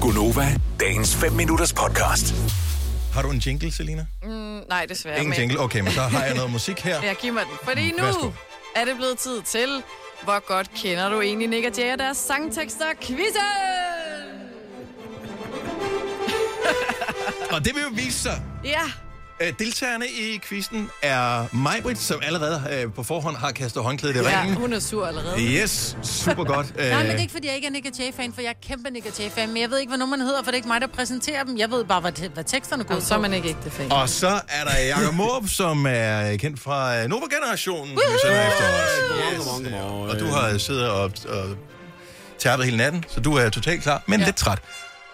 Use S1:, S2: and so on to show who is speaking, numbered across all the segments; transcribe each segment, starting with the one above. S1: Gunova, dagens 5 minutters podcast.
S2: Har du en jingle, Selina?
S3: Mm, nej, desværre.
S2: Ingen
S3: men-
S2: jingle? Okay, men så har jeg noget musik her.
S3: Ja, giv mig den. Fordi nu
S2: Værsgo.
S3: er det blevet tid til, hvor godt kender du egentlig Nick og Jay og deres sangtekster quizzen?
S2: Og det vil jo vise sig.
S3: Ja,
S2: Øh, Deltagerne i quizzen er Majbrit, som allerede øh, på forhånd har kastet håndklædet i
S3: ja,
S2: ringen.
S3: hun er sur allerede.
S2: Yes, super godt. Øh,
S4: Nej, men det er ikke, fordi jeg ikke er Nick og Jay-fan, for jeg er kæmpe Nick og Jay-fan, men jeg ved ikke, hvad nummeren hedder, for det er ikke mig, der præsenterer dem. Jeg ved bare, hvad, te- hvad teksterne går
S3: Og så er
S4: på.
S3: man ikke ægte fan.
S2: Og så er der Jakob Måb, som er kendt fra øh, Nova-generationen. som sender efter os. Yes. Og du har siddet og, og tærpet hele natten, så du er totalt klar, men ja. lidt træt.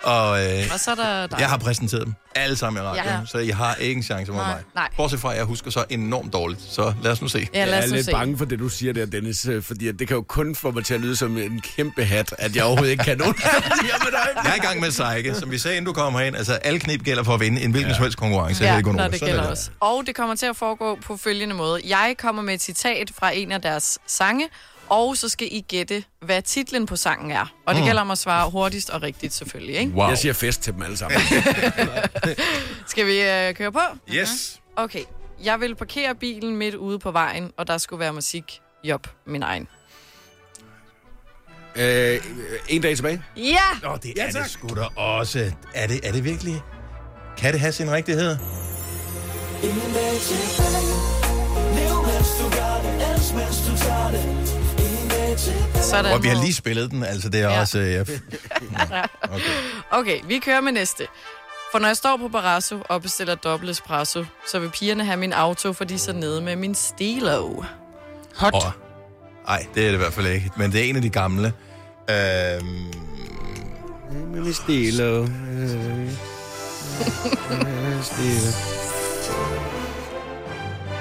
S2: Og øh,
S3: Og så er der dig.
S2: jeg har præsenteret dem alle sammen i radioen, ja.
S3: Ja.
S2: så jeg har ikke en chance mod
S3: Nej,
S2: mig.
S3: nej.
S2: Bortset fra, at jeg husker så enormt dårligt, så lad os nu se.
S3: Ja, lad
S5: Jeg er
S3: os nu
S5: lidt
S3: se.
S5: bange for det, du siger der, Dennis, øh, fordi at det kan jo kun få mig til at lyde som en kæmpe hat, at jeg overhovedet ikke kan nogen.
S2: Jeg er i gang med Sejke, som vi sagde, inden du kommer herind. Altså, alle knep gælder for at vinde en hvilken ja. som helst konkurrence. her
S3: Ja,
S2: i Gonova.
S3: når det
S2: Sådan er
S3: gælder os. Og det kommer til at foregå på følgende måde. Jeg kommer med et citat fra en af deres sange, og så skal I gætte, hvad titlen på sangen er.
S2: Mm.
S3: Og det gælder om at svare hurtigst og rigtigt selvfølgelig, ikke?
S2: Wow.
S5: Jeg siger fest til dem alle sammen.
S2: Mm.
S3: Skal vi øh, køre på?
S2: Yes.
S3: Okay, jeg ville parkere bilen midt ude på vejen, og der skulle være musik. Job, min egen.
S5: øh, en dag tilbage.
S3: Ja!
S2: Nå, det ja, er det sgu da også. Er det, er det virkelig? Kan det have sin rigtighed?
S6: Ingen dag tilbage Lev mens du gør det Els mens du tager det Ingen dag tilbage
S3: Sådan.
S2: Og vi har lige spillet den, altså det er ja.
S3: Ja.
S2: også... Ja. Okay.
S3: Okay, vi kører med næste. For når jeg står på Barasso og bestiller dobbelt espresso, så vil pigerne have min auto, fordi så nede med min stilo.
S4: Hot.
S2: Og, ej, det er det i hvert fald ikke, men det er en af de gamle. Øhm,
S5: Med stille. Øh,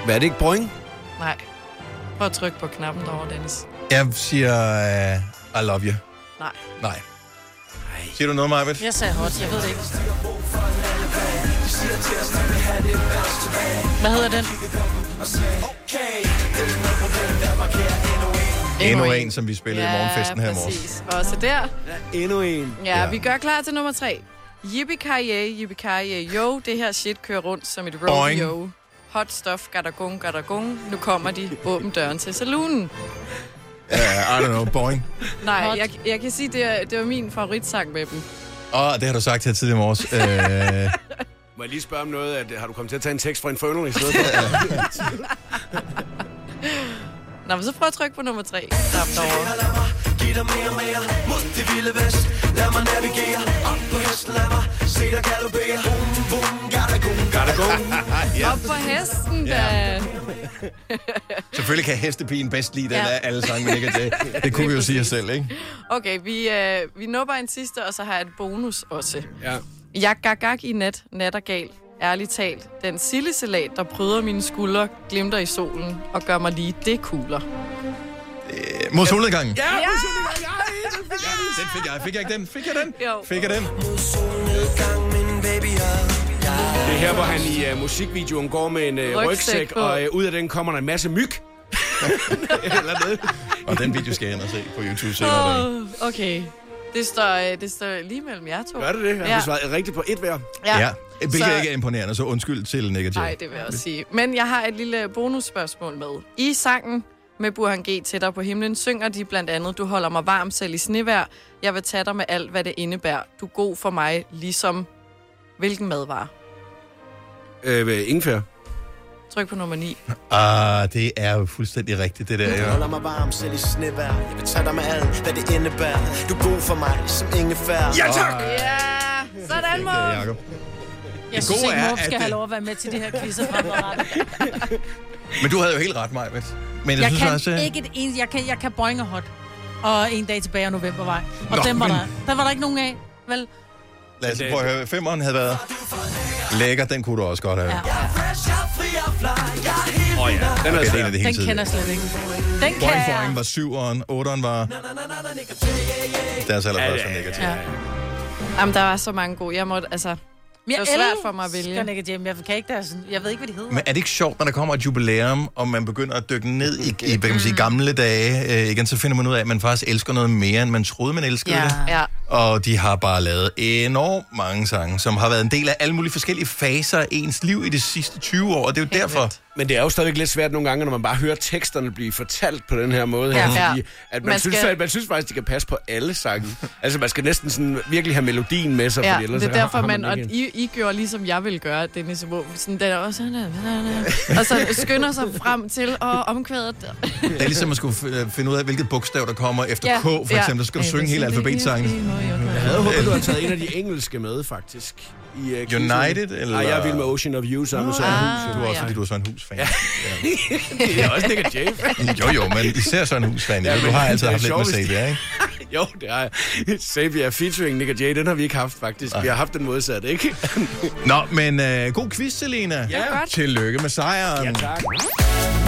S5: Hvad er det ikke, Brøng?
S3: Nej. Prøv at trykke på knappen derovre, Dennis.
S2: jeg siger... Uh, I love you.
S3: Nej.
S2: Nej. Siger du noget, Marvitt?
S4: Jeg sagde hot, jeg ved det ikke. Hvad hedder den?
S2: Endnu en, som vi spillede i morgenfesten her i morgen.
S3: præcis. Også der.
S5: Endnu en.
S3: Ja,
S2: Ja.
S3: ja, vi gør klar til nummer tre. Yippie-kaye, yippie-kaye, yo, det her shit kører rundt som et
S2: Boing.
S3: rodeo. Hot stuff, gadagung, gadagung, nu kommer de, åbn døren til saloonen.
S2: Ja, I don't know, boing.
S3: Nej,
S4: Hot.
S3: jeg, jeg kan sige, det, er, det var min favoritsang med dem.
S2: Åh, oh, det har du sagt her tidligere i morges. Øh,
S5: Må jeg lige spørge om noget? At, øh, har du kommet til at tage en tekst fra Inferno i stedet for?
S3: Nå, men så prøv at trykke på nummer tre. Knap derovre.
S6: Lad mig give dig mere og mere Mod det vilde vest Lad mig navigere Op på hesten Lad mig se dig galopere Boom, boom, gotta go Gotta go
S3: Op på hesten, da.
S2: Selvfølgelig kan hestepigen bedst lide den
S3: Ja.
S2: af alle sange, men ikke det. Det kunne vi jo sige os selv, ikke?
S3: Okay, vi, øh, vi nupper en sidste, og så har jeg et bonus også.
S5: ja.
S3: Jeg gak gak i nat, nat og gal. Ærligt talt, den sildesalat, der pryder mine skuldre, glimter i solen og gør mig lige det kugler.
S2: Øh, Mod solnedgangen. Ja.
S3: Ja!
S2: Den fik jeg. Fik jeg ikke den? Fik jeg den?
S3: Jo.
S2: Fik jeg den?
S6: Solnedgang, min baby er
S5: Det er her, hvor han i uh, musikvideoen går med en uh,
S3: Rygsæk
S5: rygsæk,
S3: på.
S5: og uh, ud af den kommer der en masse myg. Eller noget.
S2: Og den video skal jeg ind og se på YouTube senere. i dag.
S3: Åh, okay. Det står, øh, det står lige mellem jer to.
S5: Gør det det? Han
S3: Ja.
S5: ja. svaret rigtigt på et hver.
S2: Ja. Hvilket
S3: Så-
S2: ikke er imponerende, så undskyld til Nick og Jay.
S3: Nej, det vil jeg også sige. Men jeg har et lille bonusspørgsmål med. I sangen med Burhan G tættere på himlen synger de blandt andet, du holder mig varm selv i snevær, jeg vil tage dig med alt, hvad det indebærer, du er god for mig, ligesom hvilken madvare.
S5: Øh, ingefær.
S3: Tryk på nummer 9.
S2: Ah, det er jo fuldstændig rigtigt, det der.
S6: Jeg
S2: Ja.
S6: holder mig varm selv i snevær Jeg vil tage dig med alt, hvad det indebærer Du er god for mig, som ingefær
S5: Ja, tak!
S3: Ja, sådan må.
S2: Ja, Jacob.
S4: Jeg synes
S2: gode
S4: ikke,
S2: er,
S4: Morp
S2: at
S4: skal have
S2: det-
S4: lov at være med til det her quizzer fremadrettet.
S2: Men du havde jo helt ret, mig, Men jeg,
S4: Jeg
S2: synes
S4: kan
S2: også... øh,
S4: ikke et eneste... Jeg kan, jeg kan boinge og hot. Og en dag tilbage og novembervej. Og
S2: Nå,
S4: den var
S2: men-
S4: der. Der var der ikke nogen af, vel?
S2: Lad os prøve at høre. Femmeren havde været... Lækker, den kunne du også godt have.
S4: Ja.
S2: Ja.
S6: Fresh, jeg er fri og fly Jeg er helt
S5: Åh oh, ja, den er
S2: Det er en
S5: svær.
S2: af det hele
S4: Den
S2: tiden.
S4: kender jeg slet ikke. Den kan
S2: Boing Boing
S4: jeg.
S2: var syveren, otteren var... Deres allerførste
S5: Ja, ja, ja.
S2: negativ.
S3: Ja. Jamen, der var så mange gode. Jeg måtte, altså,
S4: Men
S3: Det er svært for mig at vælge.
S4: Jeg elsker Jam. Jeg kan ikke deres... Jeg ved ikke, hvad de hedder.
S2: Men er det ikke sjovt, når der kommer et jubilæum, og man begynder at dykke ned i, i hvad kan man
S4: Mm.
S2: sige, gamle dage øh, igen, så finder man ud af, at man faktisk elsker noget mere, end man troede, man elskede
S4: Ja.
S2: det.
S3: Ja.
S2: Og de har bare lavet enormt mange sange, som har været en del af alle mulige forskellige faser af ens liv i de sidste 20 år, og det er jo derfor...
S5: Men det er jo stadigvæk lidt svært nogle gange, når man bare hører teksterne blive fortalt på den her måde.
S3: Ja.
S5: Her,
S3: Ja.
S5: fordi, at man,
S3: Man
S5: man, synes,
S3: skal-
S5: at man synes faktisk, det kan passe på alle sange. altså, man skal næsten sådan virkelig have melodien med sig,
S3: Ja,
S5: fordi ellers
S3: det er
S5: har-
S3: derfor,
S5: har
S3: man, og
S5: ikke-
S3: I, I gjorde ligesom jeg ville gøre, Dennis, hvor sådan, den er også sådan, der, der, og så skynder sig frem til at omkvæde det.
S2: Det er ligesom at skulle øh, finde ud af, hvilket bogstav, der kommer efter
S3: Ja.
S2: K, for
S3: Ja.
S2: eksempel. Der skal du synge hele alfabetsangen.
S5: Jeg havde håbet, du havde taget en af de engelske med, faktisk. I, uh,
S2: United, eller?
S5: Nej, jeg vil med Ocean of You, så er så
S3: Ah.
S2: Du er også, fordi du er Søren Hus-fan. Ja.
S5: Det er også Nick Jay.
S2: Jo, jo, men især Søren Hus-fan. Ja,
S5: Ja,
S2: du
S5: men
S2: har altid
S5: det er
S2: haft lidt med
S5: sjovest.
S2: Sabia, ikke?
S5: Jo, det er jeg. Xavier featuring Nick Jay, den har vi ikke haft, faktisk. Vi har haft den modsatte, ikke?
S2: Nå, men øh, god quiz, Selena.
S5: Ja. Godt.
S2: Tillykke med sejren.
S5: tak.